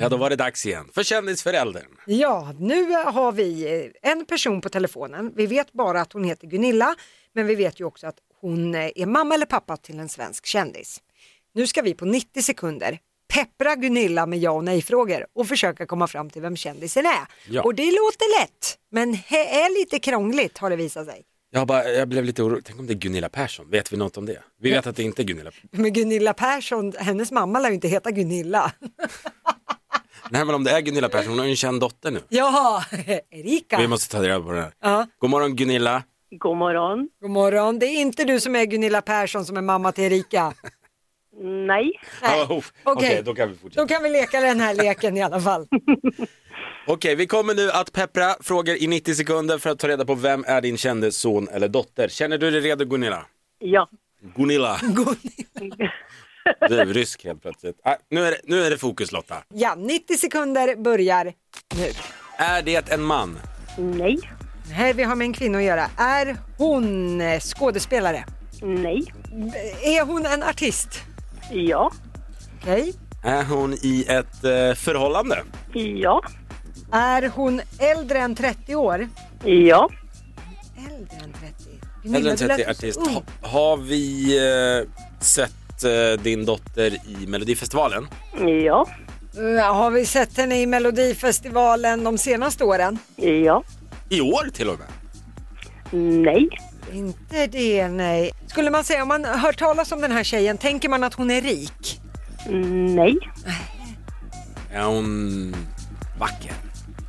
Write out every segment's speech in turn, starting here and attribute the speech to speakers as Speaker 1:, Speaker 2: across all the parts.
Speaker 1: Ja, då var det dags igen för kändisföräldern.
Speaker 2: Ja, nu har vi eh, en person på telefonen. Vi vet bara att hon heter Gunilla, men vi vet ju också att hon eh, är mamma eller pappa till en svensk kändis. Nu ska vi på 90 sekunder peppra Gunilla med ja och nej-frågor och försöka komma fram till vem kändisen är.
Speaker 1: Ja.
Speaker 2: Och det låter lätt, men det är lite krångligt har det visat sig.
Speaker 1: Jag, bara, jag blev lite orolig, tänk om det är Gunilla Persson, vet vi något om det? Vi vet att det inte är Gunilla.
Speaker 2: Men Gunilla Persson, hennes mamma lär ju inte heta Gunilla.
Speaker 1: Nej men om det är Gunilla Persson, hon har ju en känd dotter nu.
Speaker 2: Jaha, Erika.
Speaker 1: Vi måste ta reda på det här.
Speaker 2: Ja.
Speaker 1: God morgon Gunilla.
Speaker 3: God morgon.
Speaker 2: God morgon, det är inte du som är Gunilla Persson som är mamma till Erika.
Speaker 3: Nej.
Speaker 2: Nej.
Speaker 1: Ja, oh, Okej, då kan vi fortsätta.
Speaker 2: Då kan vi leka den här leken i alla fall.
Speaker 1: Okej, vi kommer nu att peppra frågor i 90 sekunder för att ta reda på vem är din kände son eller dotter. Känner du dig redo Gunilla?
Speaker 3: Ja.
Speaker 1: Gunilla. Du är rysk helt plötsligt. Ah, nu, är det, nu är det fokus Lotta.
Speaker 2: Ja, 90 sekunder börjar nu.
Speaker 1: Är det en man?
Speaker 3: Nej.
Speaker 2: Här vi har med en kvinna att göra. Är hon eh, skådespelare?
Speaker 3: Nej.
Speaker 2: B- Är hon en artist?
Speaker 3: Ja.
Speaker 2: Okej.
Speaker 1: Är hon i ett eh, förhållande?
Speaker 3: Ja.
Speaker 2: Är hon äldre än 30 år?
Speaker 3: Ja.
Speaker 2: Äldre än 30?
Speaker 1: Eller en
Speaker 2: du lät
Speaker 1: 30
Speaker 2: så
Speaker 1: artist.
Speaker 2: ung.
Speaker 1: Ha, har vi eh, sett eh, din dotter i Melodifestivalen?
Speaker 3: Ja.
Speaker 2: Ja, Har vi sett henne i Melodifestivalen de senaste åren?
Speaker 3: Ja.
Speaker 1: I år till och med.
Speaker 3: Nej.
Speaker 2: Inte det, nej. Skulle man säga, om man hör talas om den här tjejen, tänker man att hon är rik?
Speaker 3: Nej.
Speaker 1: Är hon vacker?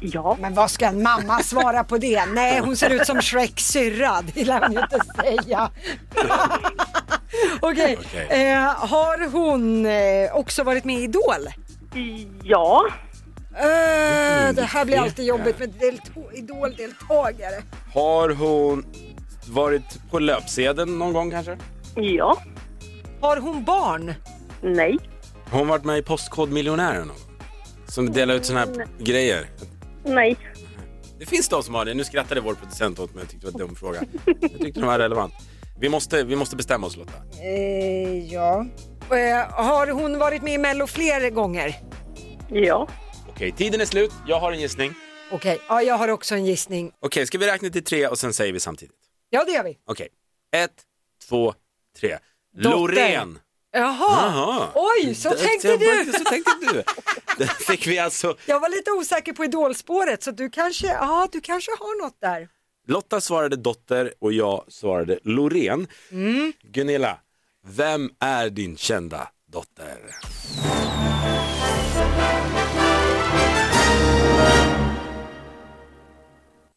Speaker 3: Ja.
Speaker 2: Men vad ska en mamma svara på det? Nej, hon ser ut som Shreks syrra, det lär hon ju inte säga. Okej,
Speaker 1: Okej.
Speaker 2: eh, har hon eh, också varit med i Idol?
Speaker 3: Ja.
Speaker 1: Mm.
Speaker 2: Eh, det här blir
Speaker 1: vet
Speaker 2: alltid
Speaker 1: jag.
Speaker 2: jobbigt med delto- Idol-deltagare.
Speaker 1: Har hon varit på löpsedeln någon gång kanske?
Speaker 3: Ja.
Speaker 2: Har hon barn?
Speaker 3: Nej.
Speaker 1: Har hon varit med i Postkodmiljonären någon gång? Som delar ut såna här grejer.
Speaker 3: Nej.
Speaker 1: Det finns de som har det. Nu skrattade vår producent åt mig. Jag tyckte det var en dum fråga. Jag tyckte den var relevant. Vi måste, vi måste bestämma oss Lotta.
Speaker 2: Eh, ja. Eh, har hon varit med i Mello fler gånger?
Speaker 3: Ja.
Speaker 1: Okej, tiden är slut. Jag har en gissning.
Speaker 2: Okej, ja, jag har också en gissning.
Speaker 1: Okej, ska vi räkna till tre och sen säger vi samtidigt?
Speaker 2: Ja, det gör vi.
Speaker 1: Okej, ett, två, tre.
Speaker 2: Dotter.
Speaker 1: Loreen!
Speaker 2: Jaha,
Speaker 1: Jaha.
Speaker 2: oj, så
Speaker 1: Det-
Speaker 2: tänkte
Speaker 1: jag
Speaker 2: du.
Speaker 1: bara- Så tänkte du. Där fick vi alltså...
Speaker 2: Jag var lite osäker på idolspåret så du kanske, ja du kanske har något där.
Speaker 1: Lotta svarade dotter och jag svarade Loreen.
Speaker 2: Mm.
Speaker 1: Gunilla, vem är din kända dotter?
Speaker 2: Ah!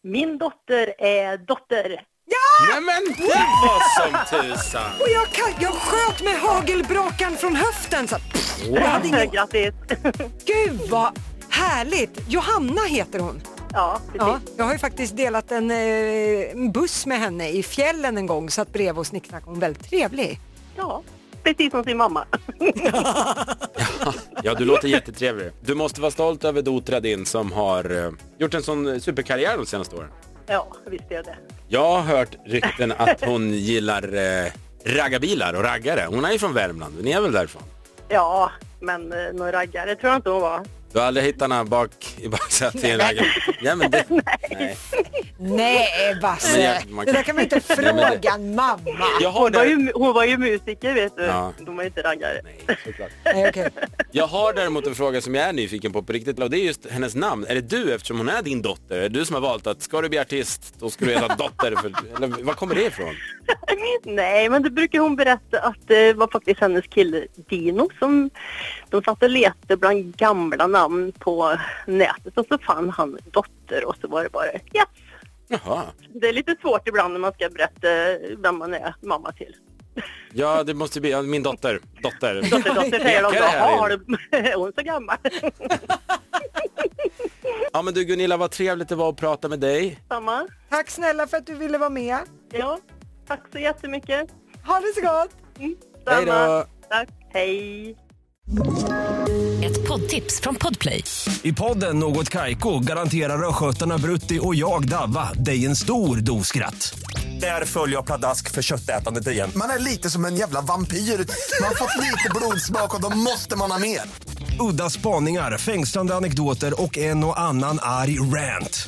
Speaker 3: Min dotter är dotter.
Speaker 1: Nej men det var som tusan!
Speaker 2: Och jag, kan, jag sköt med hagelbrakan från höften så pff, jag hade ingen,
Speaker 3: Grattis.
Speaker 2: Gud vad härligt! Johanna heter hon.
Speaker 3: Ja,
Speaker 2: Ja,
Speaker 3: precis.
Speaker 2: jag har ju faktiskt delat en, eh, en buss med henne i fjällen en gång, satt bredvid och snicknackade. Hon är väldigt trevlig.
Speaker 3: Ja. Precis som sin mamma.
Speaker 1: Ja, du låter jättetrevlig. Du måste vara stolt över Dotra din som har eh, gjort en sån superkarriär de senaste åren.
Speaker 3: Ja, visst är det.
Speaker 1: Jag har hört rykten att hon gillar eh, raggarbilar och raggare. Hon är ju från Värmland, ni är väl därifrån?
Speaker 3: Ja, men eh, någon raggare tror jag inte hon var.
Speaker 1: Du har aldrig hittat henne bak i baksätet i en raggare? Ja, men det, nej.
Speaker 2: Nej Basse,
Speaker 1: Men jag- man
Speaker 2: det där
Speaker 1: kan-
Speaker 2: kan man inte
Speaker 1: Nej, men det-
Speaker 2: fråga en mamma.
Speaker 1: Jag har
Speaker 3: Hon
Speaker 1: där...
Speaker 3: var ju, hon var ju musiker vet du.
Speaker 1: Ja.
Speaker 3: De var ju inte raggare.
Speaker 1: Nej, såklart.
Speaker 2: Nej, okej.
Speaker 1: Jag har däremot en fråga som jag är nyfiken på på riktigt och det är just hennes namn. Är det du eftersom hon är din dotter? Är det du som har valt att ska du bli artist då ska du heta dotter? För, eller var kommer det ifrån?
Speaker 3: Nej, men då brukar hon berätta att det var faktiskt hennes kille Dino som de satt och letade bland gamla namn på nätet och så fann han dotter och så var det bara ja.
Speaker 1: Jaha.
Speaker 3: Det är lite svårt ibland när man ska berätta vem man är mamma till.
Speaker 1: Ja, det måste bli ja, min dotter. Dotter.
Speaker 3: Dotter, dotter säger de då.
Speaker 1: Ekar det här
Speaker 3: "Jaha,
Speaker 1: in?"
Speaker 3: har du- Är hon så gammal?
Speaker 1: Ja, men du Gunilla, vad trevligt det var att prata med dig.
Speaker 3: Samma.
Speaker 2: Tack snälla för att du ville vara med.
Speaker 3: Ja, tack så jättemycket.
Speaker 2: Ha det så gott!
Speaker 3: Mm,
Speaker 1: Hej
Speaker 3: samma.
Speaker 1: då!
Speaker 3: Tack, hej.
Speaker 4: Ett poddtips från Podplay.
Speaker 5: I podden Något Kaiko garanterar östgötarna Brutti och jag, Davva, dig en stor dos skratt. Där följer jag pladask för köttätandet igen.
Speaker 6: Man är lite som en jävla vampyr. Man har fått lite blodsmak och då måste man ha mer.
Speaker 5: Udda spaningar, fängslande anekdoter och en och annan arg rant.